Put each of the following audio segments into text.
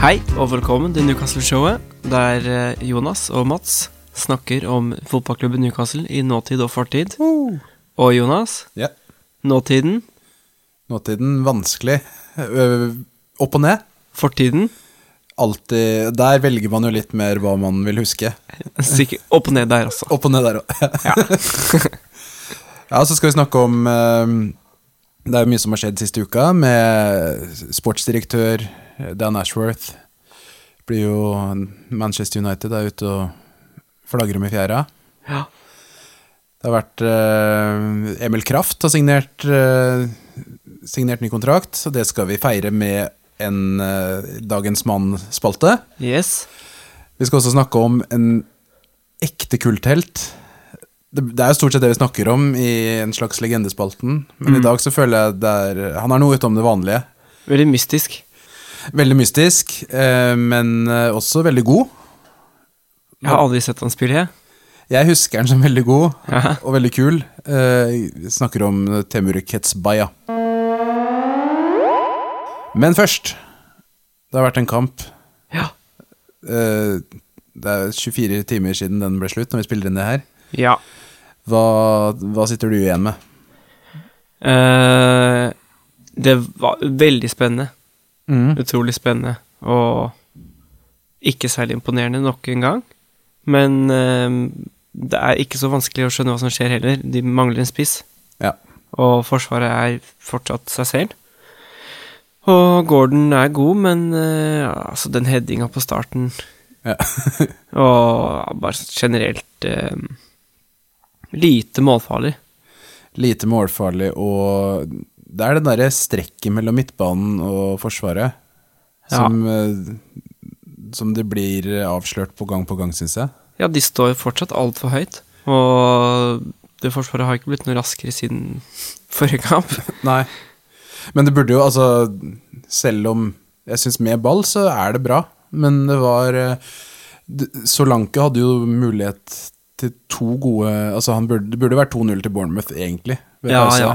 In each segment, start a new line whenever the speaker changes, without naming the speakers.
Hei og velkommen til Newcastle-showet, der eh, Jonas og Mats snakker om fotballklubben Newcastle i nåtid og fortid. Og Jonas,
Ja.
nåtiden,
Nåtiden vanskelig. Ø, Opp og ned.
fortiden,
Alltid Der velger man jo litt mer hva man vil huske.
sikkert opp og ned der også.
Opp og ned der òg. Ja. ja, så skal vi snakke om ø, Det er jo mye som har skjedd siste uka, med sportsdirektør eh, Dan Ashworth. Blir jo Manchester United er ute og flagrer med fjæra.
Ja.
Det har vært eh, Emil Kraft har signert, eh, signert ny kontrakt, så det skal vi feire med en eh, Dagens Mann-spalte.
Yes.
Vi skal også snakke om en ekte kulthelt. Det, det er jo stort sett det vi snakker om i en slags legendespalten, men i dag så føler jeg det er Han er noe utenom det vanlige.
Veldig mystisk.
Veldig mystisk, eh, men eh, også veldig god.
Jeg har aldri sett han spille, jeg.
Jeg husker den som veldig god
Ja.
og veldig kul. Eh, vi snakker om Temur Ketsbaya. Men først Det har vært en kamp.
Ja.
Eh, det er 24 timer siden den ble slutt, når vi spiller inn det her.
ja.
Hva, hva sitter du igjen med?
Eh, det var veldig spennende.
Mm.
Utrolig spennende og ikke særlig imponerende nok en gang. Men eh, det er ikke så vanskelig å skjønne hva som skjer heller. De mangler en spiss,
Ja.
og Forsvaret er fortsatt seg selv. Og Gordon er god, men eh, altså den headinga på starten
Ja.
og bare generelt eh, lite målfarlig.
Lite målfarlig, og det er det derre strekket mellom midtbanen og Forsvaret
Ja.
som, eh, som det blir avslørt på gang på gang, syns jeg.
Ja, de står fortsatt altfor høyt, og det forsvaret har ikke blitt noe raskere siden forrige kamp.
Nei. Men det burde jo, altså Selv om jeg syns med ball, så er det bra. Men det var eh, d- Solanke hadde jo mulighet til to gode Altså han burde, det burde vært 2-0 til Bournemouth, egentlig. ved
Ja,
pause.
ja.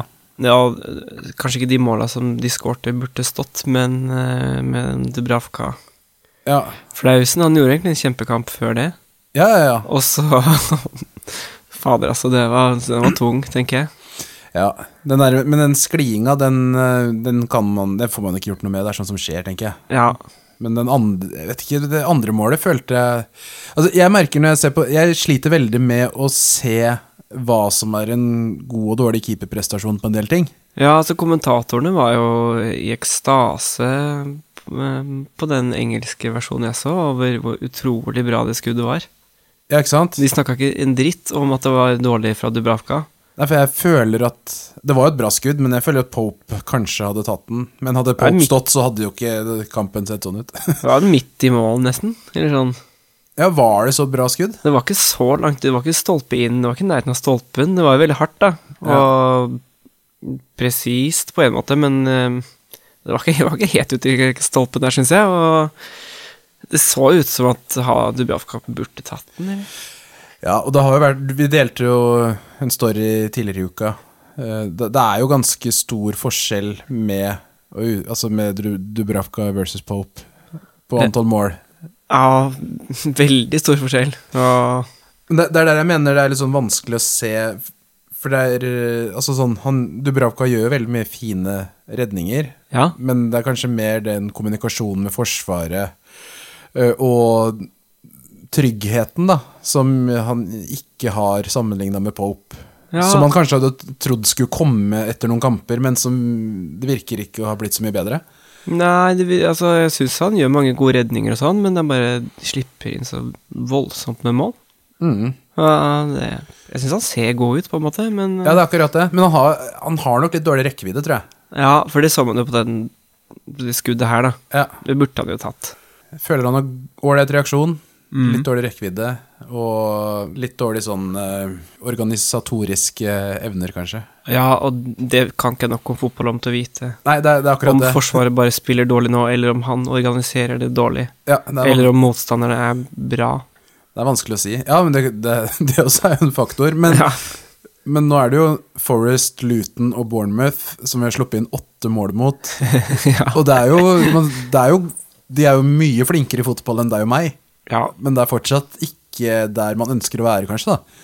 ja, kanskje ikke de måla som de skårte, burde stått, men eh, med Dubravka
ja.
Flausen, han gjorde egentlig en kjempekamp før det,
Ja, ja, ja.
og så Fader, altså, det var, den var tung, tenker jeg.
ja. Den der, men den sklinga, den, eh, den kan man Den får man ikke gjort noe med. Det er sånt som skjer, tenker jeg.
Ja,
Men den andre, jeg vet ikke, det andre målet følte jeg Altså, jeg merker når jeg ser på Jeg sliter veldig med å se hva som er en god og dårlig keeperprestasjon på en del ting.
ja altså, kommentatorene var jo i ekstase eh, på den engelske versjonen jeg så, over hvor utrolig bra det skuddet var.
Ja, ikke sant?
De snakka ikke en dritt om at det var dårlig fra Dubravka.
Nei, for jeg føler at Det var jo et bra skudd, men jeg føler at Pope kanskje hadde tatt den. Men hadde
Nei,
Pope
Mik-
stått, så hadde jo ikke kampen sett sånn ut.
Det var midt i mål, nesten. Eller sånn.
ja, var det så bra skudd?
Det var ikke så langt, det var ikke stolpe inn, det var ikke i nærheten av stolpen. Det var jo veldig hardt, da. Og presist på en måte, men eh, det var ikke, det var ikke helt ute i stolpen der, syns jeg. Og det så ut som at ha, Dubravka burde tatt den, eller?
Ja, og det har jo vært Vi delte jo en story tidligere i uka. Eh, Det det er jo ganske stor forskjell med, og u- altså med Dru- Dubravka versus Pope på
Det-
antall mål.
Ja, veldig stor forskjell. Og
Men Det, det er der jeg mener det er litt sånn vanskelig å se For det er eh, altså sånn han, Dubravka gjør jo veldig mye fine redninger,
ja.
men det er kanskje mer den kommunikasjonen med Forsvaret eh, og tryggheten, da, som han ikke har sammenligna med Pope.
ja.
Som man kanskje hadde trodd skulle komme etter noen kamper, men som det virker ikke å ha blitt så mye bedre.
Nei, det, vil- altså, jeg syns han gjør mange gode redninger og sånn, men han bare slipper inn så voldsomt med mål. Mm. Ja, det, jeg syns han ser god ut, på en måte, men
Ja, det er akkurat det, men han har, han har nok litt dårlig rekkevidde, tror jeg.
Ja, for det så man jo på den, det skuddet her, da.
Ja,
Det burde han jo tatt.
jeg føler han har ålreit reaksjon,
Mm.
litt dårlig rekkevidde og litt dårlig sånn eh, organisatoriske evner, kanskje.
Ja, og det kan ikke jeg nok om fotball om til å vite.
Nei, det er, det er akkurat
Om
det.
Forsvaret bare spiller dårlig nå, eller om han organiserer det dårlig.
Ja, det, er,
Eller om motstanderne er bra.
det er vanskelig å si. Ja, men det, det, det også er jo en faktor. Men,
Ja,
men nå er det jo Forest, Luton og Bournemouth som vi har sluppet inn åtte mål mot.
ja.
Og det er jo, man, det er jo de er jo mye flinkere i fotball enn deg og meg,
Ja.
men det er fortsatt ikke der man ønsker å være, kanskje, da.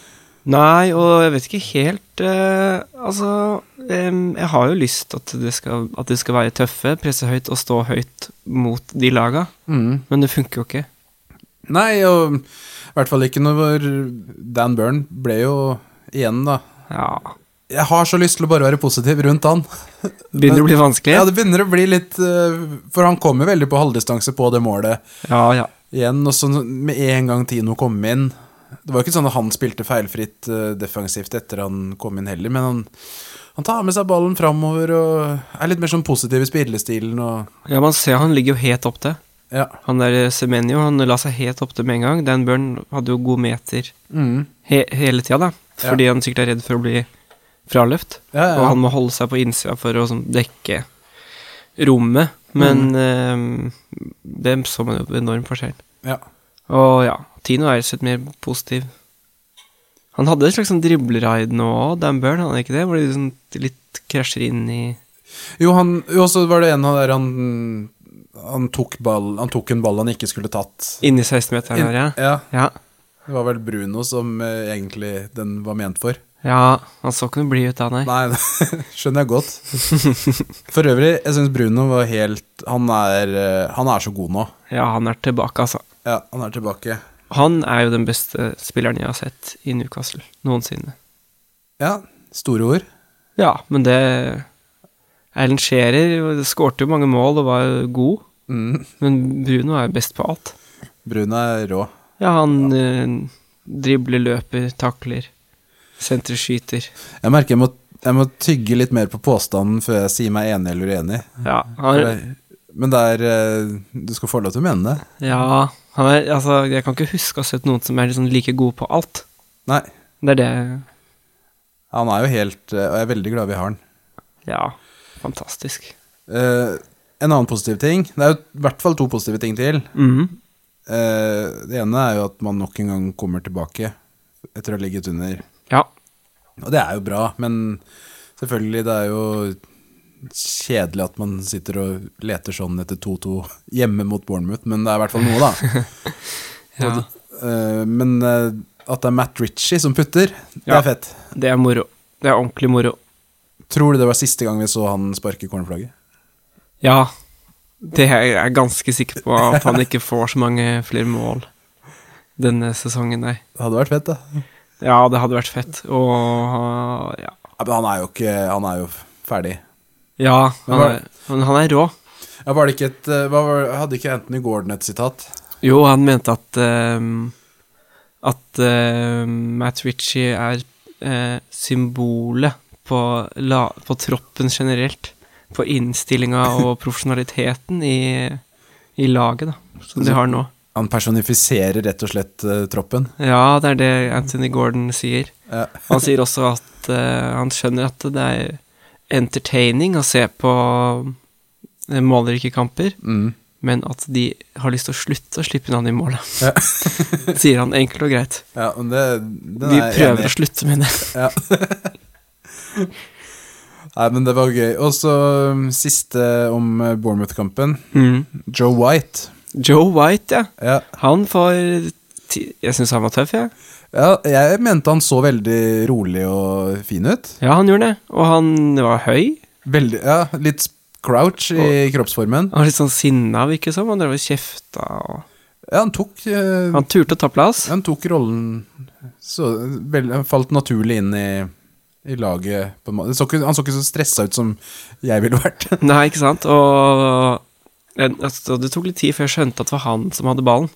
Nei, og jeg vet ikke helt eh, Altså, em, jeg har jo lyst at det skal, at det skal være tøffe, presse høyt og stå høyt mot de laga, men det funker jo ikke.
Nei, og i hvert fall ikke når Dan Byrne ble jo igjen, da.
Ja.
Jeg har så lyst til å bare være positiv rundt han.
Begynner å bli vanskelig.
Ja, det begynner å bli litt eh, For han kommer veldig på halvdistanse på det målet
Ja, ja.
igjen, og så med en gang Tino kom inn Det var jo ikke sånn at han spilte feilfritt eh, defensivt etter han kom inn heller, men han, han tar med seg ballen framover og er litt mer sånn positiv i spillestilen og
Ja, man ser han ligger jo helt opp til.
Ja.
Han der eh, Semenyo, han la seg helt opp til med en gang. Dan Byrne hadde jo god meter
Mm.
he hele tida, da. Fordi han sikkert er redd for å bli fraløpt.
Ja, ja.
Og han må holde seg på innsida for å sånn, dekke rommet. Men
Mm.
eh, det så man jo enorm forskjell.
ja.
Og ja, Tino er litt mer positiv. Han hadde et slags sånn dribleraid nå òg, Dan Byrne, hadde han ikke det? Hvor de liksom litt krasjer inn i
Jo, han Jo, så var det en av der han han tok, ball, han tok en ball han ikke skulle tatt.
Inni 16-meteren her, ja.
Ja,
ja.
det var vel Bruno som eh, egentlig den var ment for.
Ja, han så ikke noe blid ut da, nei.
Nei, det skjønner jeg godt. For øvrig, jeg syns Bruno var helt han er, eh, han er så god nå.
Ja, han er tilbake, altså.
Ja, han er tilbake.
Han er jo den beste spilleren jeg har sett i Newcastle noensinne.
Ja, store ord.
Ja, men det Erlend Scherer skårte jo mange mål og var jo god,
Mm.
men Bruno er jo best på alt.
Bruno er rå.
Ja, han eh, dribler, løper, takler, sentrer, skyter.
Jeg merker jeg må, jeg må tygge litt mer på påstanden før jeg sier meg enig eller uenig.
Ja,
For
han,
det- Men det er eh, Du skal få lov til å mene det.
ja, han er Altså, jeg kan ikke huske å ha sett noen som er liksom like god på alt.
Nei.
Det er det
Han er jo helt eh, Og jeg er veldig glad vi har han.
Ja, fantastisk.
Eh, en annen positiv ting Det er jo i hvert fall to positive ting til.
Mhm.
Eh, det ene er jo at man nok en gang kommer tilbake etter å ha ligget under.
Ja.
Og det er jo bra, men selvfølgelig, det er jo kjedelig at man sitter og leter sånn etter 2-2 hjemme mot Bournemouth, men det er i hvert fall noe, da.
ja.
Eh, men eh, at det er Matt Ritchie som putter, det
Ja.
er fett.
Det er moro. Det er ordentlig moro.
Tror du det var siste gang vi så han sparke cornerflagget?
Ja. Det er jeg ganske sikker på at han ikke får så mange flere mål denne sesongen, nei.
Det hadde vært fett, da.
Ja, det hadde vært fett. Og ja.
Ja, men han er jo ikke Han er jo ferdig.
ja han, er, men han er rå.
Ja, var det ikke et, eh, hva var, hadde ikke Anthony Gordon et sitat?
Jo, han mente at ehm, At ehm, Matt Ritchie er eh, symbolet på, la, på troppen generelt. På innstillinga og profesjonaliteten i, i laget, da. Som de har nå.
Han personifiserer rett og slett eh, troppen.
Ja, det er det Anthony Gordon sier.
Ja.
Han sier også at eh, han skjønner at det er entertaining å se på eh, målrike kamper,
Mm.
men at de har lyst til å slutte å slippe inn han i målet. sier han enkelt og greit.
Ja, men det, den
Vi
er jeg
prøver
enig i.
å slutte med det.
Nei, men det var gøy. Og så um, siste om eh, Bournemouth-kampen. Joe White.
Mm. Joe White, ja.
Ja.
Han får ti Jeg syns han var tøff, jeg. Ja.
ja, jeg mente han så veldig rolig og fin ut.
ja, han gjorde det. Og han var høy.
Veldig, ja, litt crouch i kroppsformen.
Han var litt sånn sinna, virket det som. Han drev og kjefta og
Ja, han tok, eh,
Han turte å ta plass.
han tok rollen så vel- Han falt naturlig inn i, i laget. På en måte. Så ikke, han så ikke så stressa ut som jeg ville vært.
Nei, ikke sant? Og jeg- altså, det tok litt tid før jeg skjønte at det var han som hadde ballen.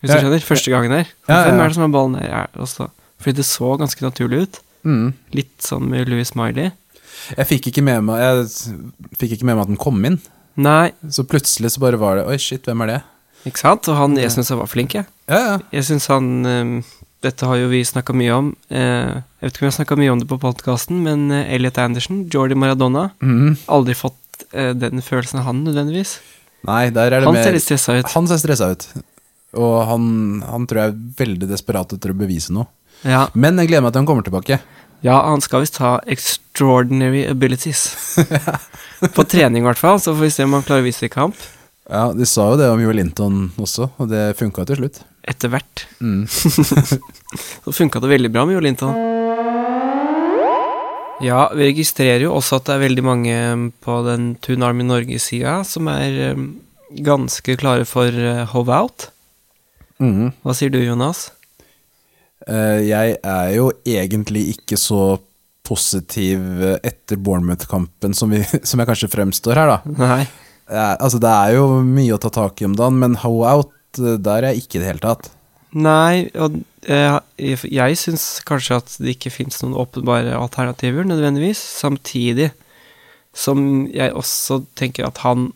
Hvis
Ja.
du skjønner, Første gangen der.
Ja, ja, ja.
Hvem er det som har ballen der? Er det også? Fordi det så ganske naturlig ut.
Mm.
Litt sånn med Louis Smiley.
Jeg fikk ikke med meg Jeg s- fikk ikke med meg at den kom inn.
Nei,
Så plutselig så bare var det Oi, shit, hvem er det?
ikke sant? Og han, jeg syns han var flink, jeg.
Ja, ja.
Jeg syns han ehm, Dette har jo vi snakka mye om. Eh, jeg vet ikke om jeg snakka mye om det på podkasten, men eh, Elliot Anderson, Jordi Maradona
Mm.
Aldri fått eh, den følelsen av han, nødvendigvis.
Nei, der er det
Han
mer
ser litt stressa ut.
Han ser stressa ut. Og han, han tror jeg er veldig desperat etter å bevise noe.
Ja.
Men jeg gleder meg til han kommer tilbake.
Ja, han skal visst ha extraordinary abilities. På trening, i hvert fall. Så får vi se om han klarer å vise det i kamp.
Ja, De sa jo det om Joe Linton også, og det funka til slutt.
Etter hvert. så funka det veldig bra med Joe Linton. Ja, vi registrerer jo også at det er veldig mange um, på den Toon Army Norge-sida som er eh, ganske klare for eh, Hove Out.
Mhm.
Hva sier du, Jonas?
Eh, jeg er jo egentlig ikke så positiv eh, etter Bournemouth-kampen som, vi- som jeg kanskje fremstår her, da.
Nei.
Det er, altså, det er jo mye å ta tak i om dagen, men how out, eh, der er jeg ikke i det hele tatt.
Nei, og eh, jeg syns kanskje at det ikke fins noen åpenbare alternativer, nødvendigvis. Samtidig som jeg også tenker at han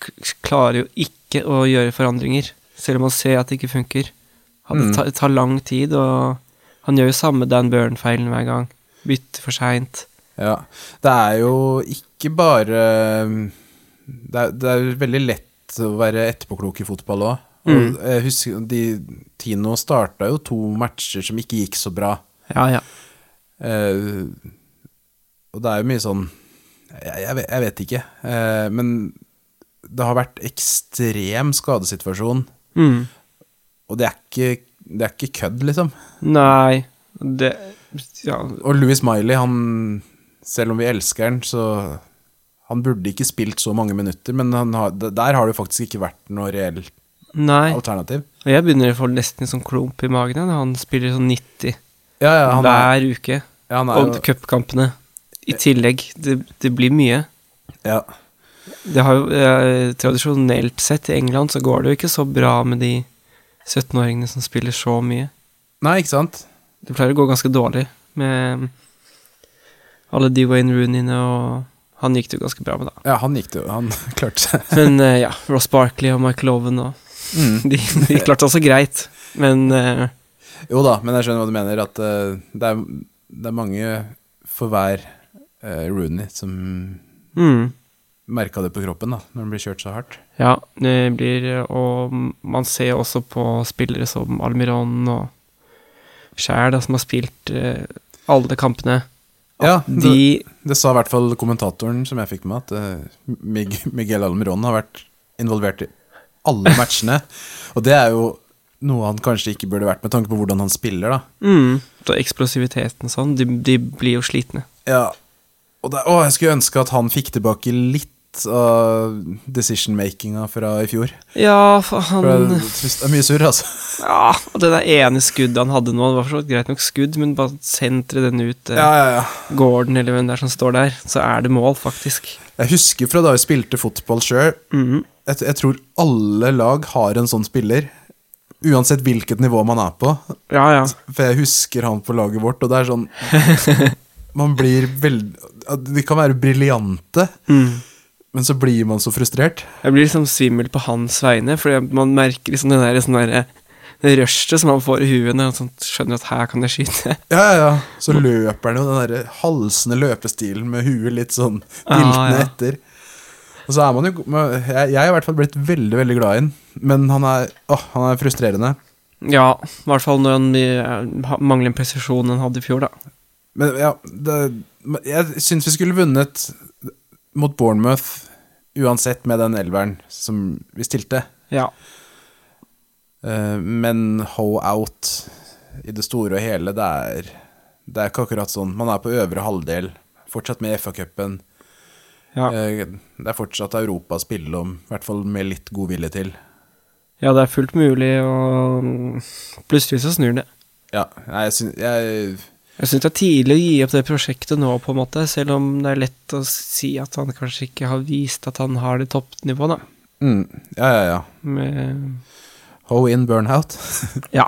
k- klarer jo ikke å gjøre forandringer, selv om han ser at det ikke funker. Han,
Mm.
Det tar, tar lang tid, og han gjør jo samme Dan Burn-feilen hver gang. Bytter for seint.
Ja. Det er jo ikke bare eh, Det er, det er veldig lett å være etterpåklok i fotball òg.
Mm.
Jeg husker de, Tino starta jo to matcher som ikke gikk så bra.
Ja, ja.
Eh, og det er jo mye sånn Jeg, jeg, vet, jeg vet ikke. Eh, men det har vært ekstrem skadesituasjon,
Mm.
og det er ikke, det er ikke kødd, liksom.
Nei, det Ja,
Og Louis Miley, han Selv om vi elsker han, så Han burde ikke spilt så mange minutter, men han har, d- der har det jo faktisk ikke vært noe reelt
nei.
alternativ.
Og jeg begynner å få nesten en sånn klump i magen ja, når han spiller sånn 90
Ja, ja, han er,
hver uke.
ja, han er
Og
jo
cupkampene i tillegg. Det, det blir mye.
ja.
Det har jo eh, Tradisjonelt sett i England så går det jo ikke så bra med de 17-åringene som spiller så mye.
Nei, ikke sant?
Det pleier å gå ganske dårlig med mm, alle de Wayne Rooneyene og Han gikk det jo ganske bra med, da.
Ja, han gikk det jo. Han klarte seg.
Men eh, ja, Ross Barkley og Michael Owen og
Mm.
De, de klarte også greit, men eh,
Jo da, men jeg skjønner hva du mener. At eh, det, er, det er mange for hver eh, Rooney som
mm.
merka det på kroppen da, når han blir kjørt så hardt.
Ja, det blir Og man ser jo også på spillere som Almiron og Skjær, da, som har spilt eh, alle kampene.
Ja, det,
De
det sa i hvert fall kommentatoren som jeg fikk med, at eh, Mig Miguel Almiron har vært involvert i alle matchene. og det er jo noe han kanskje ikke burde vært, med tanke på hvordan han spiller, da.
mm, da Eksplosiviteten og sånn, de, de blir jo slitne.
Ja, og det, å, jeg skulle ønske at han fikk tilbake litt av decision-makinga fra i fjor.
Ja, for
For det,
han
det er mye surr, altså.
ja, og Det der ene skuddet han hadde nå, det var for så vidt greit nok skudd, men bare sentre den ut eh,
Ja, ja, ja.
Gordon eller hvem det er som står der, så er det mål, faktisk.
Jeg husker fra da jeg spilte fotball sjøl,
Mhm.
jeg, jeg tror alle lag har en sånn spiller. Uansett hvilket nivå man er på.
Ja, ja.
For jeg husker han på laget vårt, og det er sånn Man blir veldig De kan være briljante,
Mm.
men så blir man så frustrert.
Jeg blir liksom svimmel på hans vegne, fordi man merker liksom det der, sånn der det rushet som han får i huet når han sånn skjønner at her kan jeg skyte.
Ja, ja, ja. Så
Mm.
løper han jo den derre halsende løpestilen med huet litt sånn
Ah, Ja,
diltende
ja.
etter. Og så er man jo men Jeg, jeg er i hvert fall blitt veldig, veldig glad i han, men han er, åh, han er frustrerende.
Ja, i hvert fall når han eh, ha- mangler en presisjon han hadde i fjor, da.
Men ja, det, men jeg syns vi skulle vunnet mot Bournemouth uansett med den elveren som vi stilte.
Ja.
Eh, Men hoe out i det store og hele, det er, det er ikke akkurat sånn. Man er på øvre halvdel, fortsatt med FA-cupen.
Ja.
Eh, Det er fortsatt Europa å spille om, i hvert fall med litt god vilje til.
ja, det er fullt mulig, og plutselig så snur det.
Ja, nei, jeg syns jeg,
Jeg syns det er tidlig å gi opp det prosjektet nå, på en måte, selv om det er lett å si at han kanskje ikke har vist at han har det toppnivået, da.
mm, Ja, ja, ja.
Med
Hoe in, burn out.
Ja.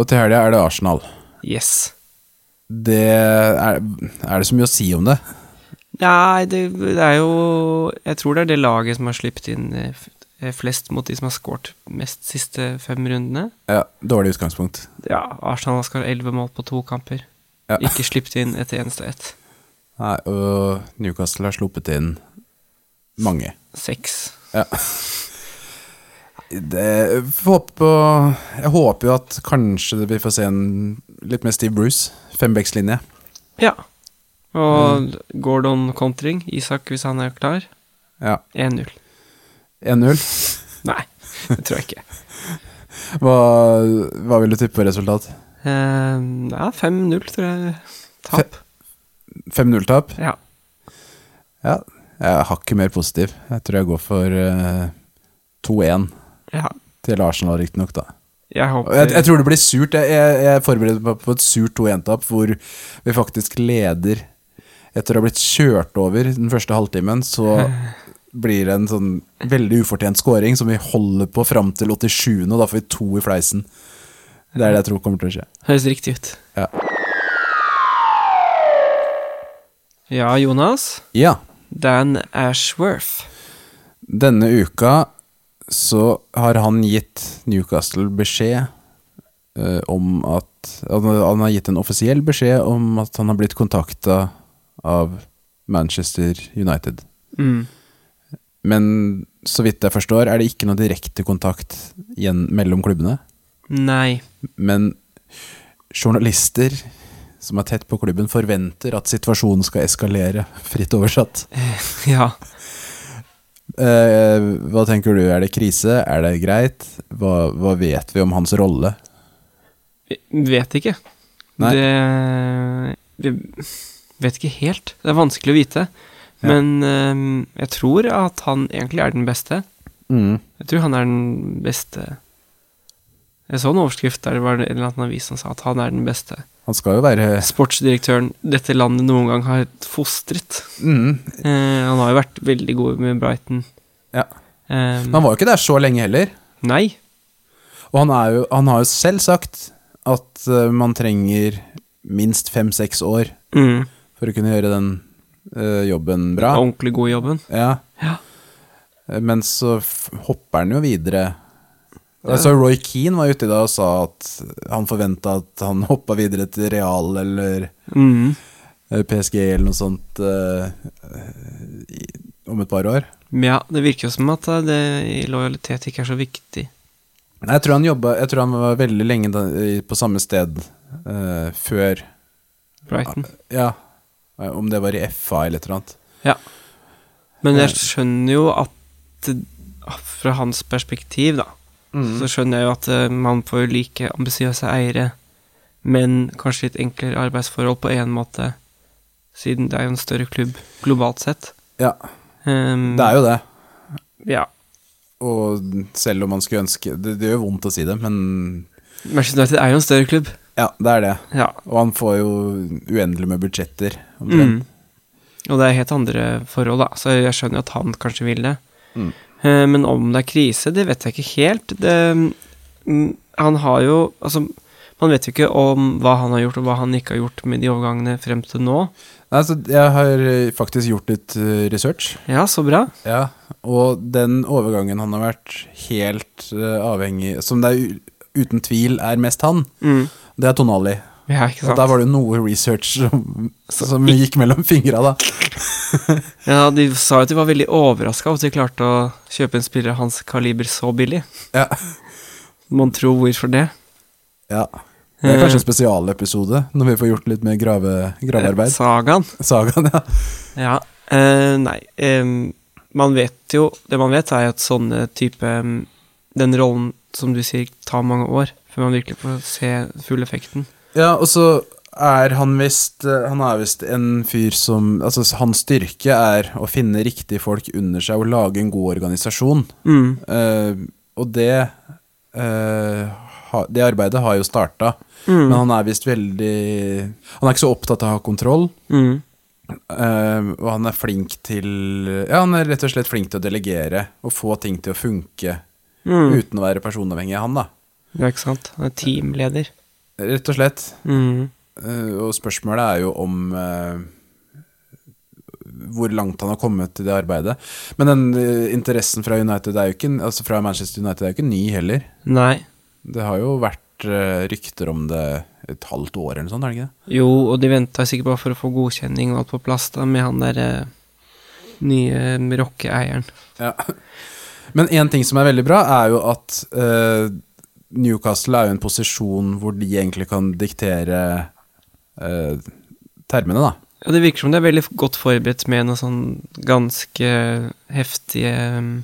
Og til helga er det Arsenal.
Yes.
Det er, er det så mye å si om det?
Nei, det, det er jo Jeg tror det er det laget som har sluppet inn eh, f- eh, flest mot de som har skåret mest siste fem rundene.
Ja, Dårlig utgangspunkt.
Ja, Arsenal skal ha elleve mål på to kamper.
Ja.
Ikke sluppet inn et eneste ett.
Nei, og Newcastle har sluppet inn mange.
Seks.
Det, får håpe på, jeg håper jo at kanskje vi får se en litt mer Steve Bruce. Fembeckslinje.
Ja. Og Gordon kontring. Isak, hvis han er klar.
Ja.
1-0.
1-0.
Nei, det tror jeg ikke.
Hva, hva vil du tippe på resultat?
Eh, ja, 5-0 tror jeg. Tap.
5-0-tap?
Ja.
Ja. Jeg har ikke mer positiv. Jeg tror jeg går for eh, 2-1
ja.
til Arsenal, riktignok, da.
Jeg håper
Jeg, jeg tror det blir surt. Jeg, jeg, jeg forbereder meg på et surt 2-1-tap hvor vi faktisk leder etter å ha blitt kjørt over den første halvtimen. Så blir det en sånn veldig ufortjent scoring som vi holder på fram til 87., og da får vi to i fleisen. Det er det jeg tror kommer til å skje.
Høres riktig ut.
Ja.
Ja, Jonas.
Ja,
Dan Ashworth.
denne uka så har han gitt Newcastle beskjed eh, om at han, han har gitt en offisiell beskjed om at han har blitt kontakta av Manchester United.
Mm.
Men så vidt jeg forstår, er det ikke noe direkte kontakt igjen mellom klubbene.
Nei.
Men journalister som er tett på klubben, forventer at situasjonen skal eskalere, fritt oversatt.
Ja.
Eh, hva tenker du, er det krise? Er det greit? Hva, hva vet vi om hans rolle?
Vet ikke.
Nei.
Det vi Vet ikke helt. Det er vanskelig å vite.
Ja.
Men ehm, jeg tror at han egentlig er den beste.
Mm.
Jeg tror han er den beste Jeg så en overskrift der det var en eller annen avis som sa at han er den beste
Han skal jo være
sportsdirektøren dette landet noen gang har fostret.
mm.
Eh, han har jo vært veldig god med Brighton.
Ja.
Ehm,
Han var jo ikke der så lenge heller.
nei.
Og han, er jo, han har jo selv sagt at eh, man trenger minst fem-seks år
Mm.
for å kunne gjøre den eh, jobben bra.
Ordentlig god i jobben.
Ja.
Ja.
Eh, Men så f- hopper han jo videre. Altså, Roy Keane var ute i dag og sa at han forventa at han hoppa videre til Real eller
Mm.
eh, PSG eller noe sånt eh, i, om et par år.
Men ja, det virker jo som at eh, det i lojalitet ikke er så viktig.
Nei, jeg tror han jobba Jeg tror han var veldig lenge da, i, på samme sted eh, før
Brighton.
Ja, eh, om det var i FA eller et eller annet.
Men
Eh.
jeg skjønner jo at eh, fra hans perspektiv, da,
Mm.
så skjønner jeg jo at eh, man får jo like ambisiøse eiere, men kanskje litt enklere arbeidsforhold på én måte, siden det er jo en større klubb globalt sett.
Ja,
Ehm,
det er jo det.
Ja.
Og selv om man skulle ønske Det, det gjør vondt å si det, men
Manchester United er jo en større klubb.
ja, det er det.
Ja.
Og han får jo uendelig med budsjetter.
Mm.
omtrent.
Og det er helt andre forhold, da, så jeg skjønner jo at han kanskje vil det.
Mm.
Eh, Men om det er krise, det vet jeg ikke helt. Det, mm, han har jo Altså, man vet jo ikke om hva han har gjort, og hva han ikke har gjort med de overgangene frem til nå.
Nei, så jeg har eh, faktisk gjort litt eh, research.
Ja, så bra.
Ja, og den overgangen han har vært helt eh, avhengig Som det er u- uten tvil er mest han,
Mm.
det er Tonali.
Ja, ikke sant.
Og der var det noe research som,
Så
som gikk mellom fingra, da.
Ja, de sa jo at de var veldig overraska over at de klarte å kjøpe en spiller av hans kaliber så billig.
Ja.
Mon tro hvorfor det?
ja. Det er
Mm.
kanskje en spesialepisode, når vi får gjort litt mer grave, gravearbeid.
Eh, Sagaen.
Sagaen, ja.
Ja, eh, nei em, Man vet jo Det man vet, er at sånne type em, Den rollen, som du sier, tar mange år før man virkelig får se full effekten.
Ja, og så er han visst eh, Han er visst en fyr som Altså, hans styrke er å finne riktige folk under seg og lage en god organisasjon.
Mm.
Eh, og det eh, ha, Det arbeidet har jo starta,
Mm.
men han er visst veldig Han er ikke så opptatt av å ha kontroll,
Mm.
eh, og han er flink til Ja, han er rett og slett flink til å delegere og få ting til å funke
Mm.
uten å være personavhengig av han, da.
Ja, ikke sant? Han er teamleder.
Rett og slett.
Mm.
Eh, Og spørsmålet er jo om eh, hvor langt han har kommet i det arbeidet. Men den eh, interessen fra, United er jo ikke, altså fra Manchester United er jo ikke ny heller.
Nei.
Det har jo vært eh, rykter om det et halvt år eller noe sånt, er det ikke det?
Jo, og de venta sikkert bare for å få godkjenning og alt på plass da, med han derre nye rockeeieren.
Men én ting som er veldig bra, er jo at eh, Newcastle er jo i en posisjon hvor de egentlig kan diktere eh, termene, da.
Ja, det virker som det er veldig godt forberedt med noen sånn ganske heftige mm,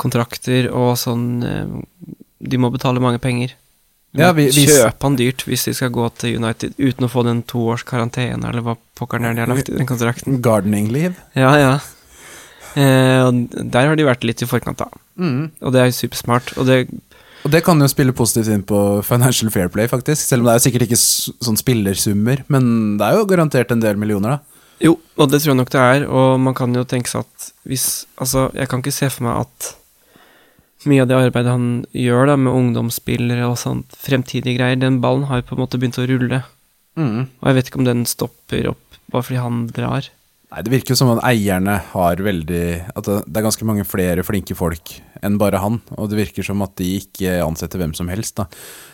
kontrakter og sånn eh, De må betale mange penger. De
Ja,
må
vi- vi-
kjøpe han dyrt hvis de skal gå til United uten å få den toårs karantene eller hva pokkeren er de har lagt i den kontrakten.
Gardening-liv.
Ja, ja. Eh, og der har de vært litt i forkant, da. Og det er jo supersmart. Og det
Og det kan jo spille positivt inn på Financial Fair Play, faktisk. Selv om det er jo sikkert ikke s- sånn spillersummer, men det er jo garantert en del millioner, da.
Jo, og det tror jeg nok det er, og man kan jo tenke seg at hvis Altså, jeg kan ikke se for meg at mye av det arbeidet han gjør da, med ungdomsspillere og sånn fremtidige greier, den ballen har jo på en måte begynt å rulle, og jeg vet ikke om den stopper opp bare fordi han drar.
Nei, Det virker jo som at eierne har veldig At det det er ganske mange flere flinke folk enn bare han. Og det virker som at de ikke ansetter hvem som helst, da.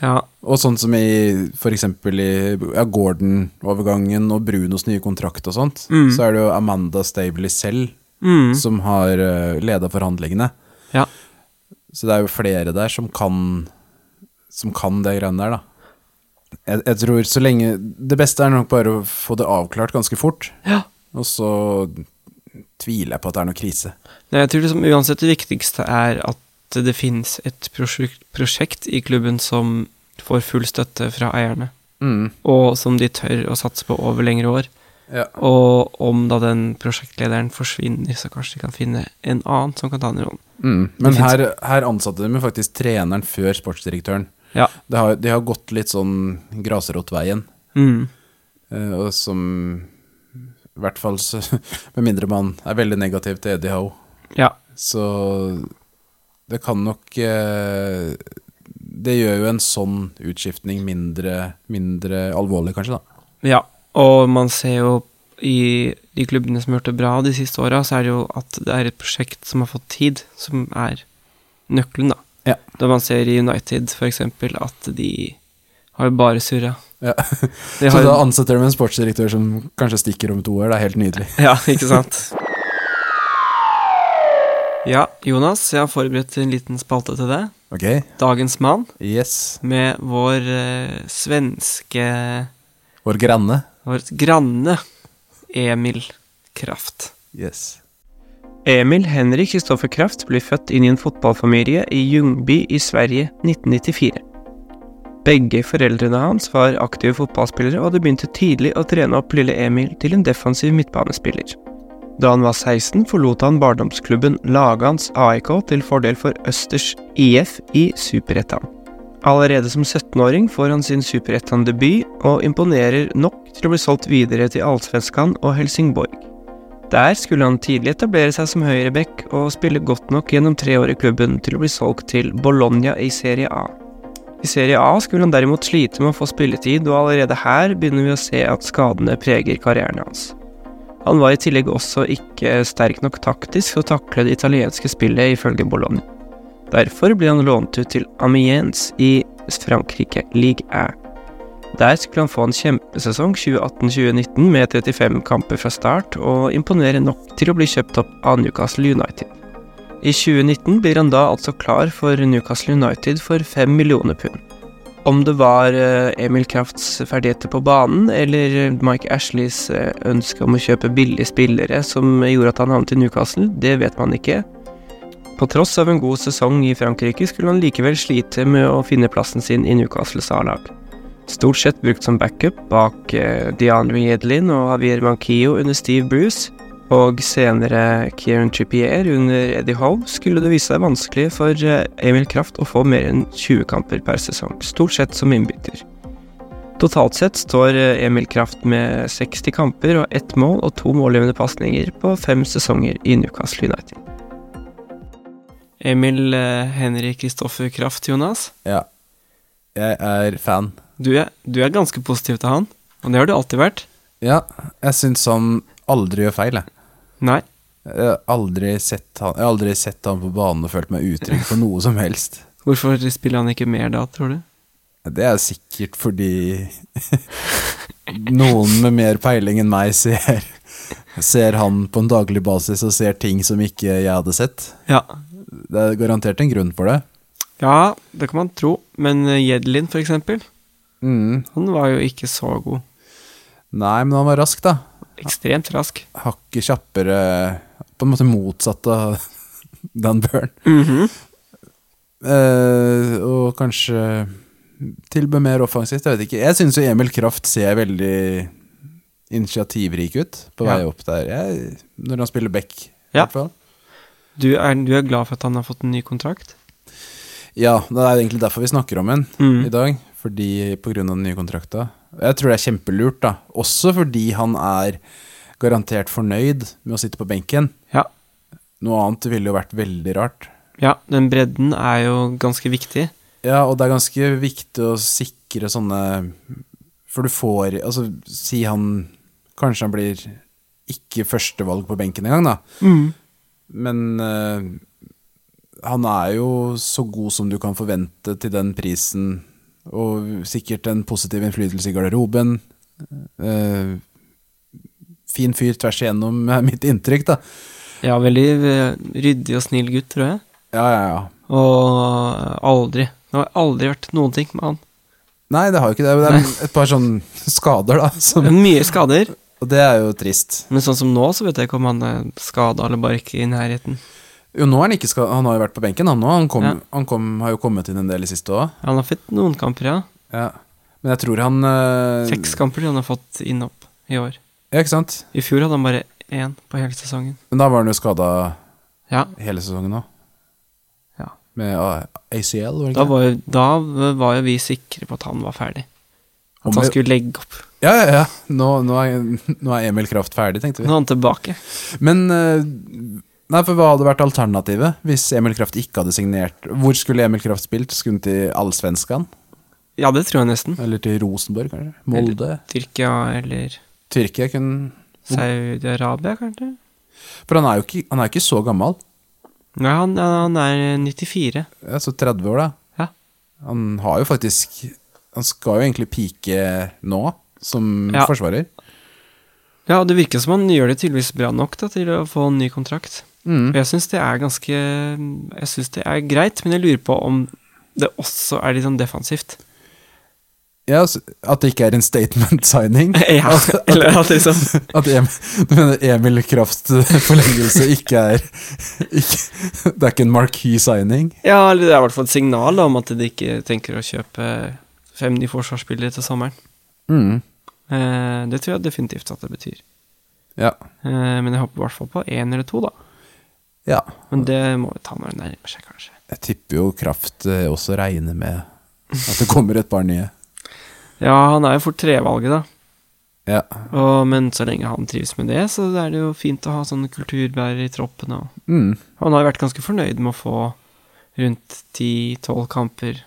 Ja,
Og sånn som i f.eks. i ja, Gordon-overgangen og Brunos nye kontrakt og sånt,
Mm.
så er det jo Amanda Stabley selv
mm,
som har uh, leda forhandlingene.
ja.
Så det er jo flere der som kan Som kan det greiene der, da. Jeg, jeg tror så lenge Det beste er nok bare å få det avklart ganske fort,
ja.
og så tviler jeg på at det er noe krise.
Nei, jeg tror liksom uansett det viktigste er at det finnes et prosjekt, prosjekt i klubben som får full støtte fra eierne,
Mm.
og som de tør å satse på over lengre år.
Ja.
Og om da den prosjektlederen forsvinner, så kanskje de kan finne en annen som kan ta den rollen. Det
Mm. Men
finnes-
her, her ansatte de jo faktisk treneren før sportsdirektøren.
Ja.
Det har, de har gått litt sånn grasrotveien,
Mm.
eh, og som I hvert fall så Med mindre man er veldig negativ til Eddie Howe.
Ja.
Så det kan nok eh, Det gjør jo en sånn utskiftning mindre, mindre alvorlig, kanskje, da.
ja. Og man ser jo i de klubbene som har gjort det bra de siste åra, så er det jo at det er et prosjekt som har fått tid, som er nøkkelen, da.
Ja.
Da man ser i United f.eks. at de har jo bare surra.
Ja.
De
Så
har
da
jo
ansetter de en sportsdirektør som kanskje stikker om to år. Det er helt nydelig.
Ja, ikke sant? Ja, Jonas, jeg har forberedt en liten spalte til deg.
Ok,
Dagens mann.
yes.
med vår eh, svenske
Vår granne.
Vår granne Emil Kraft.
Yes.
Emil Henrik Kristoffer Kraft ble født inn i en fotballfamilie i Ljungby i Sverige 1994. Begge foreldrene hans var aktive fotballspillere, og det begynte tidlig å trene opp lille Emil til en defensiv midtbanespiller. Da han var 16, forlot han barndomsklubben Lagans AIK til fordel for Østers IF i Superettan. Allerede som 17-åring får han sin Superettan-debut, og imponerer nok til å bli solgt videre til Allsvenskan og Helsingborg. Der skulle han tidlig etablere seg som høyreback og spille godt nok gjennom tre år i klubben til å bli solgt til Bologna i Serie A. I Serie A skulle han derimot slite med å få spilletid, og allerede her begynner vi å se at skadene preger karrieren hans. Han var i tillegg også ikke sterk nok taktisk til å takle det italienske spillet, ifølge Bologna. Derfor ble han lånt ut til Amiens i Frankrike Ligue 1. Der skulle han få en kjempesesong 2018-2019 med 35 kamper fra start, og imponere nok til å bli kjøpt opp av Newcastle United. I 2019 blir han da altså klar for Newcastle United for 5 millioner pund. Om det var eh, Emil Krafts ferdigheter på banen, eller Mike Ashleys eh, ønske om å kjøpe billige spillere som gjorde at han havnet i Newcastle, det vet man ikke. På tross av en god sesong i Frankrike skulle han likevel slite med å finne plassen sin i Newcastles A-lag. Stort sett brukt som backup bak eh, DeAndre Yedlin og Javier Manquillo under Steve Bruce, og senere Kieran Trippier under Eddie Howe, skulle det vise seg vanskelig for eh, Emil Kraft å få mer enn 20 kamper per sesong, stort sett som innbytter. Totalt sett står eh, Emil Kraft med 60 kamper og ett mål og to målgivende pasninger på fem sesonger i Newcastle United. Emil eh, Henrik Kristoffer Kraft, Jonas.
Ja. Jeg er fan.
Du er, du er ganske positiv til han, og det har du alltid vært.
Ja, jeg syns han aldri gjør feil, jeg.
Nei.
Jeg har aldri sett han, jeg har aldri sett han på banen og følt meg utrygg for noe som helst.
Hvorfor spiller han ikke mer da, tror du?
Det er sikkert fordi noen med mer peiling enn meg ser, ser han på en daglig basis og ser ting som ikke jeg hadde sett.
Ja.
Det er garantert en grunn for det.
Ja, det kan man tro, men eh, Jedlin, for eksempel, han var jo ikke så god.
Mm. Nei, men han var rask, da.
Ekstremt rask.
Hakket kjappere På en måte motsatt av Dan Burn.
Mhm.
Eh, og kanskje tilbød mer offensivt, jeg vet ikke. Jeg syns jo Emil Kraft ser veldig initiativrik ut på vei
Ja.
opp der, jeg, når han spiller back. i
Ja.
hvert fall.
du, er, du er glad for at han har fått en ny kontrakt?
ja, det er egentlig derfor vi snakker om den. i
Mm.
dag, fordi på grunn av den nye kontrakta. Jeg tror det er kjempelurt, da. Også fordi han er garantert fornøyd med å sitte på benken.
Ja.
Noe annet ville jo vært veldig rart.
ja, den bredden er jo ganske viktig.
Ja, og det er ganske viktig å sikre sånne For du får Altså, si han Kanskje han blir ikke førstevalg på benken engang, da.
Mhm.
Men eh, han er jo så god som du kan forvente til den prisen, og sikkert en positiv innflytelse i garderoben. Eh, fin fyr tvers igjennom, er mitt inntrykk, da.
Ja, veldig eh, ryddig og snill gutt, tror jeg.
Ja, ja, ja.
Og eh, aldri Det har aldri vært noen ting med han.
Nei, det har jo ikke det. Det er et par sånne skader, da. Som,
Men Mye skader.
og det er jo trist.
Men sånn som nå, så vet jeg ikke om han er skada eller bare ikke i nærheten.
Jo, nå er han ikke skal, Han har jo vært på benken, han nå. Han, kom,
Ja.
han kom, har jo kommet inn en del i siste òg.
Han har fått noen kamper, ja.
Ja. Men jeg tror han eh,
Seks kamper han har fått inn opp i år.
Ja, ikke sant?
I fjor hadde han bare én på hele sesongen.
Men da var han jo skada
Ja,
hele sesongen òg.
Ja.
Med ah, ACL, var det
Da
ikke?
var, jo, da var jo vi sikre på at han var ferdig. At
Om
han
jeg-
skulle legge opp.
Ja, ja, ja. Nå, nå, er, nå er Emil Kraft ferdig, tenkte
Nå
vi.
er han tilbake.
Men eh, Nei, for hva hadde vært alternativet hvis Emil Kraft ikke hadde signert? Hvor skulle Emil Kraft spilt? Skulle han til Allsvenskan?
Ja, det tror jeg nesten.
Eller til Rosenborg, kanskje? Molde?
Tyrkia eller
Tyrkia kunne
Saudi-Arabia, kanskje?
For han er jo ikke, han er ikke så gammel.
Nei, han, han er 94.
Ja, Så 30 år, da.
Ja.
Han har jo faktisk Han skal jo egentlig pike nå, som
Ja.
forsvarer.
Ja, og det virker som han gjør det tydeligvis bra nok da, til å få en ny kontrakt.
Mm.
Og jeg syns det er ganske Jeg syns det er greit, men jeg lurer på om det også er litt sånn defensivt.
Ja, så- At det ikke er en statement signing.
Ja, eller at liksom
At Emil, du mener Emil Kraft forlengelse ikke er ikke, Det er ikke en marquee signing?
Ja, eller det er i hvert fall et signal da, om at de ikke tenker å kjøpe fem nye forsvarsspillere til sommeren.
Mm.
Eh, det tror jeg definitivt at det betyr.
Ja.
Eh, men jeg håper i hvert fall på én eller to, da.
ja.
Men det må vi ta når det nærmer seg, kanskje.
Jeg tipper jo Kraft eh, også regner med at det kommer et par nye.
Ja, han er jo fort trevalget, da.
Ja.
Og, men så lenge han trives med det, så er det jo fint å ha sånne kulturbærere i troppen. Og.
Mm.
Han har jo vært ganske fornøyd med å få rundt 10-12 kamper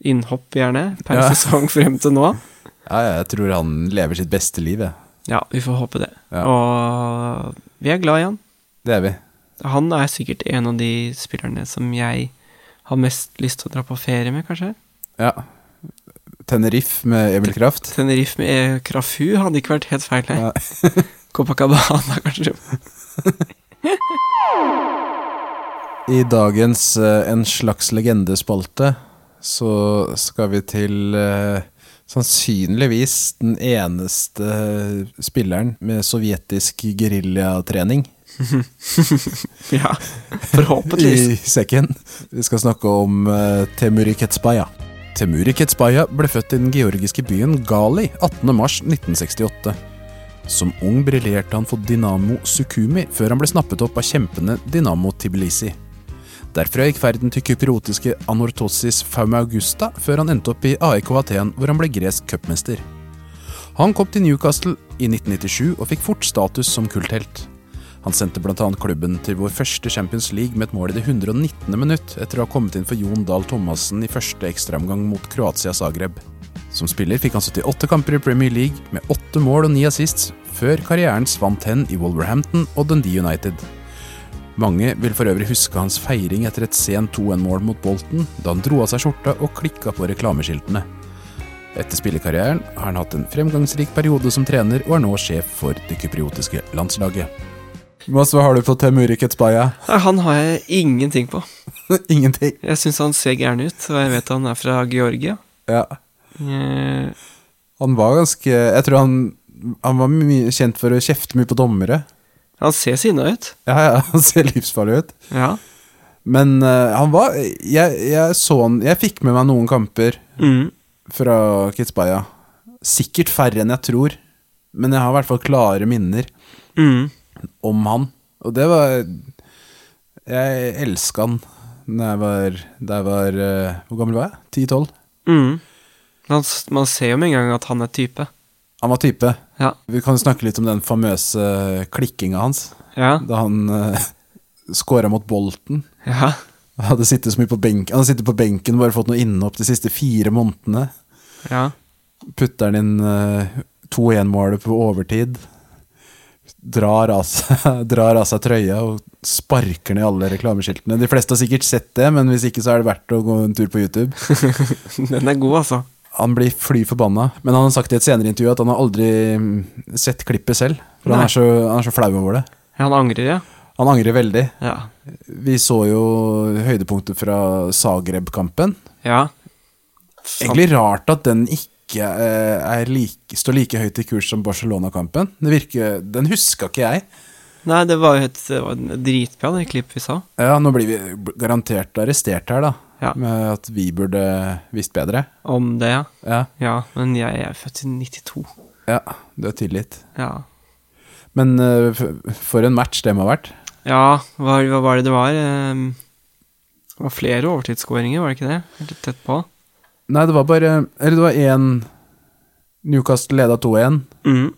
innhopp, gjerne, per
Ja.
sesong frem til nå.
ja, ja, jeg tror han lever sitt beste liv, jeg.
Ja, vi får håpe det.
Ja.
Og vi er glad i han.
Det er vi.
Han er sikkert en av de spillerne som jeg har mest lyst til å dra på ferie med, kanskje.
Ja. Tenerife med Emil Kraft.
Tenerife med eh, Krafu hadde ikke vært helt feil, nei.
Ja.
Copacabana, kanskje.
I dagens eh, En slags legendespalte så skal vi til eh, sannsynligvis den eneste eh, spilleren med sovjetisk geriljatrening
Ja,
i
forhåpentligvis.
sekken. Vi skal snakke om eh, Temuri Ketsbaja. Temuri Ketsbaja ble født i den georgiske byen Gali 18.3.1968. Som ung briljerte han for Dinamo Sukumi før han ble snappet opp av kjempene Dinamo Tbilisi. Derfra gikk ferden til kypriotiske Anortossis Fauma Augusta før han endte opp i AEK Aten, hvor han ble gresk cupmester. Han kom til Newcastle i 1997 og fikk fort status som kulthelt. Han sendte bl.a. klubben til vår første Champions League med et mål i det 119. minutt, etter å ha kommet inn for Jon Dahl Thomassen i første ekstraomgang mot Kroatia Zagreb. Som spiller fikk han 78 kamper i Premier League, med åtte mål og ni assists, før karrieren svant hen i Wolverhampton og Dundee United. Mange vil for øvrig huske hans feiring etter et sent 2-1-mål mot Bolten, da han dro av seg skjorta og klikka på reklameskiltene. Etter spillekarrieren har han hatt en fremgangsrik periode som trener, og er nå sjef for det kypriotiske landslaget. Mads, hva har du på Temuri Ketsbaya?
Nei, Han har jeg ingenting på.
Ingenting.
Jeg syns han ser gæren ut, og jeg vet han er fra Georgia.
Ja.
Eh,
Han var ganske Jeg tror han han var mye kjent for å kjefte mye på dommere.
Han ser sinna ut.
Ja, ja, han ser livsfarlig ut.
Ja.
Men eh, han var jeg, jeg så han Jeg fikk med meg noen kamper
Mm.
fra Kitzbaya. Sikkert færre enn jeg tror, men jeg har i hvert fall klare minner
Mm.
om han. Og det var Jeg elska han da jeg var, da jeg var eh, Hvor gammel var jeg? 10-12?
Mm. Man, s- man ser jo med en gang at han er type.
Han var type.
Ja.
Vi kan jo snakke litt om den famøse klikkinga hans
Ja.
da han uh, scora mot Bolten.
ja.
Han hadde sittet så mye på benken, han hadde sittet på benken og bare fått noe innhopp de siste fire månedene.
ja.
Putter han inn eh, 2-1-målet på overtid. Drar av, seg, drar av seg trøya og sparker ned alle reklameskiltene. De fleste har sikkert sett det, men hvis ikke så er det verdt å gå en tur på YouTube.
Den er god, altså.
Han blir fly forbanna, men han har sagt i et senere intervju at han har aldri mm, sett klippet selv. For han
Nei.
er, så, han er så flau over det.
Ja, han angrer, ja.
Han angrer veldig.
Ja.
Vi så jo høydepunktet fra Zagreb-kampen.
ja.
Egentlig rart at den ikke eh, er like, står like høyt i kurs som Barcelona-kampen. Det virker, Den huska ikke jeg.
Nei, det var jo et det var en dritbra, det klippet vi sa.
Ja, Nå blir vi garantert arrestert her, da.
Ja.
Med at vi burde visst bedre.
Om det, ja.
Ja,
Ja, men jeg, er født i 92.
ja du er tilgitt.
Ja.
Men eh, f- for en match det må ha vært.
Ja, hva, hva var det det var? Ehm, Det var flere overtidsskåringer, var det ikke det? Litt tett på.
Nei, det var bare Eller det var én Newcastle leda 2-1,
Mm.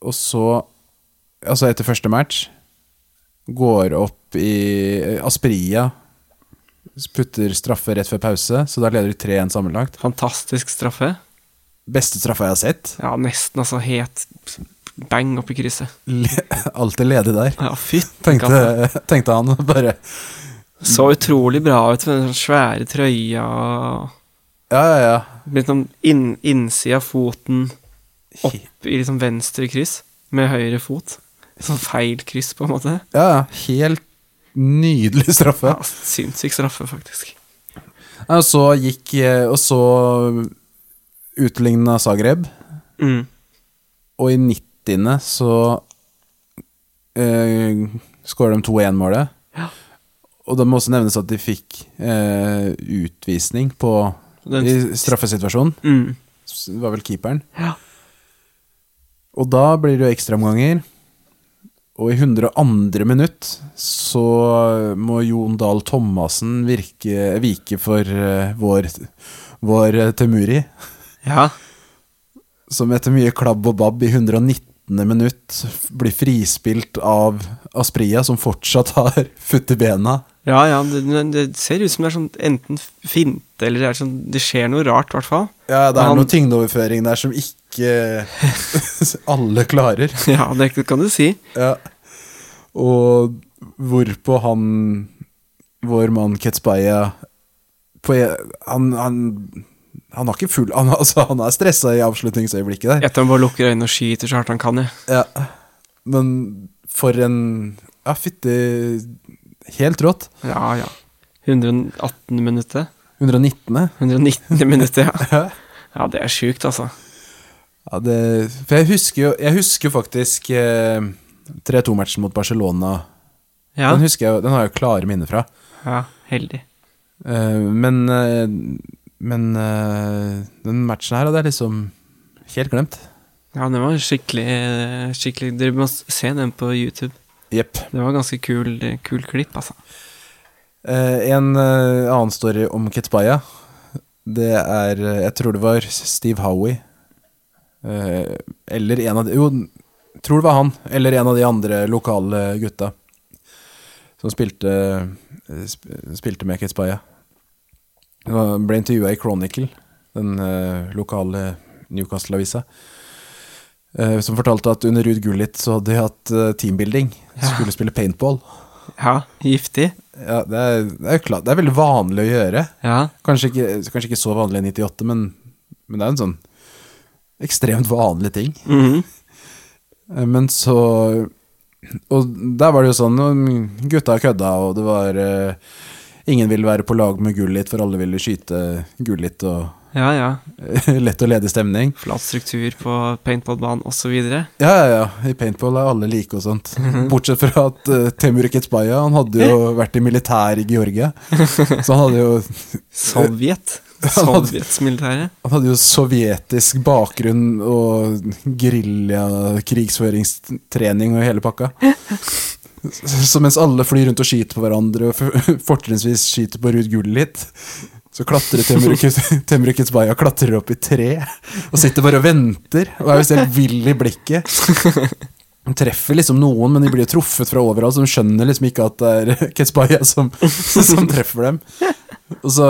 og så Altså etter første match går opp i Aspria, putter straffe rett før pause, så da leder de 3-1 sammenlagt.
Fantastisk straffe.
Beste straffa jeg har sett.
Ja, nesten altså helt bang oppi krysset.
Le alltid ledig der,
Ja, fytti katta.
tenkte, tenkte han. Bare
Så utrolig bra ut med den sånn svære trøya og
ja, ja, ja.
Litt sånn inn, innsida av foten opp i liksom venstre kryss med høyre fot. Sånn feil kryss, på en måte.
ja, ja. Helt nydelig straffe.
Ja, Sinnssyk straffe, faktisk.
Ja, Og så gikk eh, Og så utligna Zagreb,
Mm.
og i 90. så eh, skårer de 2-1-målet.
Ja.
Og det må også nevnes at de fikk eh, utvisning på
Den-
i straffesituasjonen.
Mm.
S- Det var vel keeperen.
Ja.
Og da blir det jo ekstraomganger. Og i 102. minutt så må Jon Dahl Thomassen virke, vike for eh, vår, vår eh, Temuri,
ja.
som etter mye klabb og babb i 119. minutt f- blir frispilt av Aspria, som fortsatt har futt i bena.
Ja, ja, det, men det ser ut som det er sånn enten finte eller det er sånn Det skjer noe rart, i hvert fall.
Ja, det er
Han-
noe tyngdeoverføring der som ikke alle klarer.
Ja, det kan du si.
Ja. Og hvorpå han Vår mann Ketsbaya på, en- han, han, han har ikke full Han, altså, han er stressa i avslutningsøyeblikket der.
Etter han bare lukker øynene og skyter så hardt han kan, ja.
Ja. Men for en Ja, fytti Helt rått.
Ja, ja. 118 minutter.
119.
119 minutter, ja.
Ja.
Ja, det er sjukt, altså.
Ja, det, for jeg husker jo Jeg husker faktisk eh, 3-2-matchen mot Barcelona.
Ja,
Den husker jeg, jo- den har jeg jo klare minner fra.
ja heldig.
Eh, men eh, men eh, den matchen her hadde jeg liksom helt glemt.
Ja, den var skikkelig, skikkelig Dere må se den på YouTube.
Jepp.
Det var ganske kul, kul klipp, altså.
Eh, en eh, annen story om Ketbaya, det er eh, Jeg tror det var Steve Howie. Eh, eller en av de Jo, tror det var han. Eller en av de andre lokale gutta som spilte, eh, sp- spilte med Ketbaya. Han ble intervjua i Chronicle, den eh, lokale Newcastle-avisa. eh, som fortalte at under Ruud Gullit så hadde de hatt eh, teambuilding. Skulle spille paintball.
Ja, giftig.
Ja, det er, det er jo klart. Det er veldig vanlig å gjøre.
Ja,
Kanskje ikke, kanskje ikke så vanlig i 98, men, men det er en sånn ekstremt vanlig ting.
mhm.
Eh, Men så Og der var det jo sånn mm, Gutta kødda, og det var eh, Ingen ville være på lag med Gullit, for alle ville skyte Gullit og
Ja, ja.
Lett og ledig stemning.
Flat struktur på paintballbanen osv.
Ja, ja, ja. I paintball er alle like og sånt. Bortsett fra at uh, Temur Ketsbaya, han hadde jo vært i militæret i Georgia. Så han hadde jo
Sovjet. Sovjetsmilitæret.
Han hadde jo sovjetisk bakgrunn og geriljakrigsføringstrening og hele pakka. Så mens alle flyr rundt og skyter på hverandre, og for- fortrinnsvis skyter på Ruud Gullit, så klatrer Temru Kitsbaya klatrer opp i tre, og sitter bare og venter, og er visst helt vill i blikket. De treffer liksom noen, men de blir jo truffet fra overalt, så de skjønner liksom ikke at det er Ketsbaya som, som treffer dem. Og så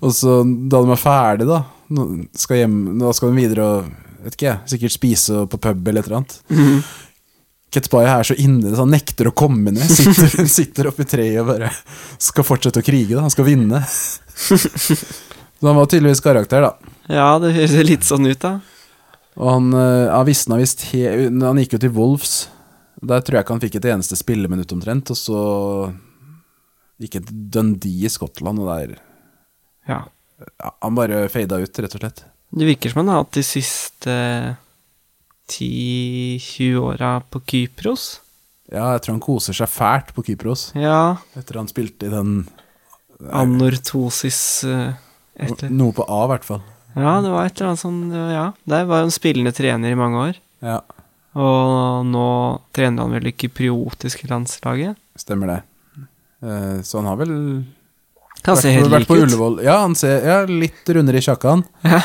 Og så, da de er ferdig, da nå skal, hjem, nå skal de videre og vet ikke jeg, sikkert spise på pub eller et eller annet. Ketsbaya er så inne, så han nekter å komme ned. Sitter, sitter oppi treet og bare skal fortsette å krige, da. Han skal vinne. Så han var tydeligvis karakter, da.
Ja, det høres litt sånn ut, da.
Og han, eh, han visste han visst he, når Han gikk jo til Wolves. Der tror jeg ikke han fikk et eneste spilleminutt omtrent. Og så gikk han til Dundee i Skottland, og der
Ja.
ja, Han bare fada ut, rett og slett.
Det virker som han har hatt de siste 10-20 åra på Kypros.
Ja, jeg tror han koser seg fælt på Kypros
Ja.
etter han spilte i den
Anortosis eh, et eller
Noe på A, i hvert fall.
Ja, det var et eller annet sånn Ja, der var jo en spillende trener i mange år.
Ja,
Og nå trener han vel det kypriotiske landslaget.
stemmer det. Eh, Så han har vel
Han ser
vært,
helt
vært
lik
på
ut.
Ullevål. Ja, han ser ja, litt rundere i sjakkaen.
Ja.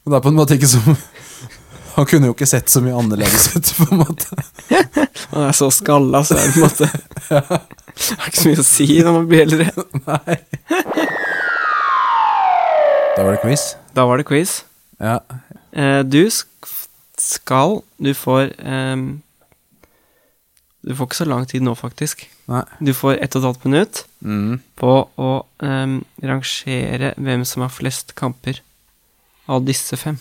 Og det er på en måte ikke som Han kunne jo ikke sett så mye annerledes ut, på en måte.
Han er så skalla, så er det på en måte Det er ikke så mye å si når man blir eldre.
Nei. Da var det quiz.
Da var det quiz.
Ja.
Eh, Du sk- skal Du får ehm, Du får ikke så lang tid nå, faktisk.
Nei.
Du får ett og et halvt minutt
Mm.
på å ehm, rangere hvem som har flest kamper av disse fem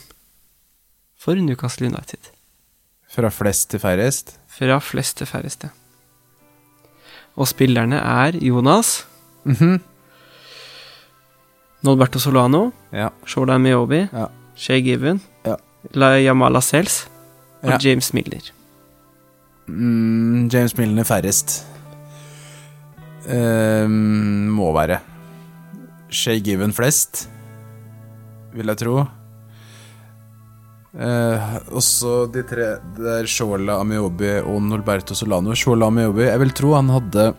for Newcastle United.
Fra flest til færrest.
Fra flest til færreste. Og spillerne er Jonas,
Mhm.
Nolberto Solano,
Ja.
Shola Miobi,
Ja.
Shay Given,
Ja.
La Yamala Sels og
Ja.
James Miller.
Mm, James Milner færrest. Ehm, må være. Shay Given flest, vil jeg tro. Eh, også de tre der Shola Amiobi og Norberto Solano. Shola Amiobi, jeg vil tro han hadde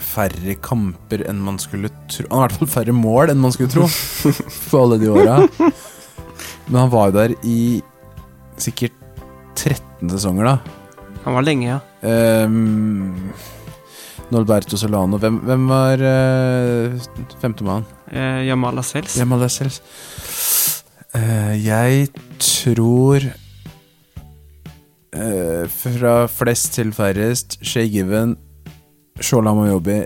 færre kamper enn man skulle tro Han har i hvert fall færre mål enn man skulle tro for alle de åra. Men han var jo der i sikkert 13 sesonger, da.
Han var lenge, ja.
Um, Norberto Solano Hvem, hvem var uh, femtemann?
Eh, Yamala Sels.
Hvem av deg selv? Eh, jeg tror eh, Fra flest til færrest Shay Given Shola Moyobi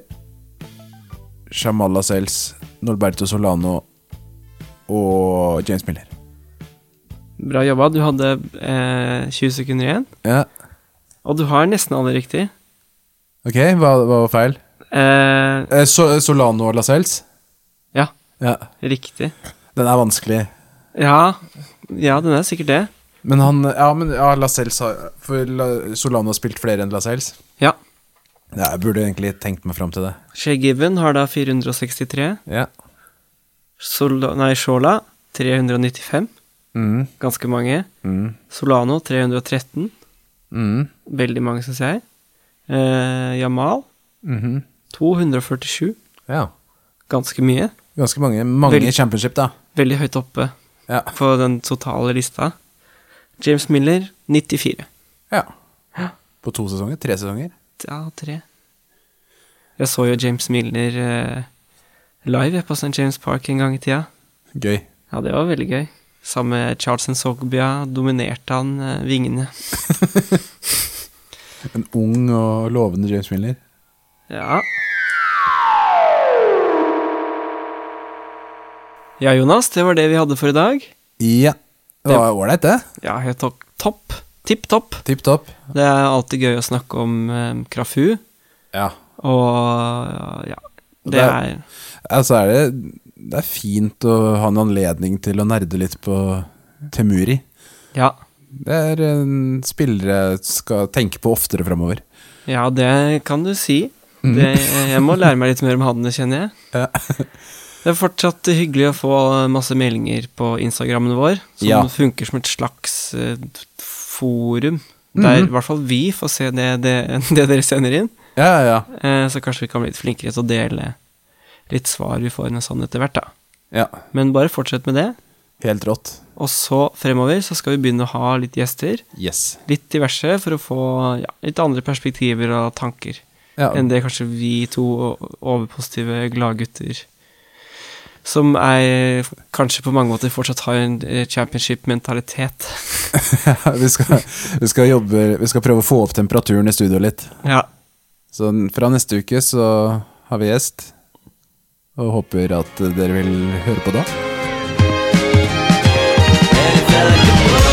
Shamala Sels Norberto Solano Og James Miller
Bra jobba. Du hadde eh, 20 sekunder igjen.
Ja,
Og du har nesten alle riktig.
ok, hva, hva var feil?
Eh,
Eh, so, Solano og Lascelles?
Ja.
ja
riktig.
Den er vanskelig
Ja, ja, den er sikkert det.
Men han Ja, men ja, Lascelles har For La, Solano har spilt flere enn Lascelles.
Ja.
Ja, jeg burde egentlig tenkt meg fram til det.
Shay Given har da 463.
Ja.
Sol nei, Shola 395.
Mm,
Ganske mange.
mm,
Solano 313.
mm,
Veldig mange, syns jeg. Eh, Jamal
mhm.
247.
Ja.
Ganske mye.
Ganske mange. Mange
Vel-
i championship, da.
Veldig høyt oppe
Ja.
på den totale lista. James Miller 94.
ja.
Ja.
På to sesonger? Tre sesonger?
Ja, tre. Jeg så jo James Miller eh, live jeg, på St. James Park en gang i tida.
Gøy.
Ja, det var veldig gøy. Sammen med Charles Nsogbia dominerte han eh, vingene.
En ung og lovende James Miller.
Ja. Ja, Jonas, det var det vi hadde for i dag.
Ja. Det var ålreit, det.
Ja, helt topp. topp. Tipp topp.
Tipp topp.
Det er alltid gøy å snakke om eh, Krafu,
Ja.
og ja,
Og
det
det
er
er- Altså er det, det er fint å ha en anledning til å nerde litt på Temuri.
Ja.
Det er en spillere jeg skal tenke på oftere framover.
ja, det kan du si. Det, jeg må lære meg litt mer om handene, kjenner jeg.
Mm. Ja.
Det er fortsatt hyggelig å få masse meldinger på Instagrammen vår, som
Ja.
funker som et slags eh, forum,
Mm-hmm.
der i hvert fall vi får se det, det, det dere sender inn.
Ja, ja.
Eh, så kanskje vi kan bli litt flinkere til å dele litt svar vi får inn sånn etter hvert, da.
ja.
Men bare fortsett med det.
Helt rått.
Og så fremover så skal vi begynne å ha litt gjester,
Yes.
litt diverse, for å få ja, litt andre perspektiver og tanker
Ja.
enn det kanskje vi to overpositive gladgutter som er kanskje på mange måter fortsatt har en eh, championship-mentalitet.
vi, skal, vi skal jobbe Vi skal prøve å få opp temperaturen i studio litt.
Ja.
Så fra neste uke så har vi gjest, og håper at dere vil høre på da.
Angelica Blue.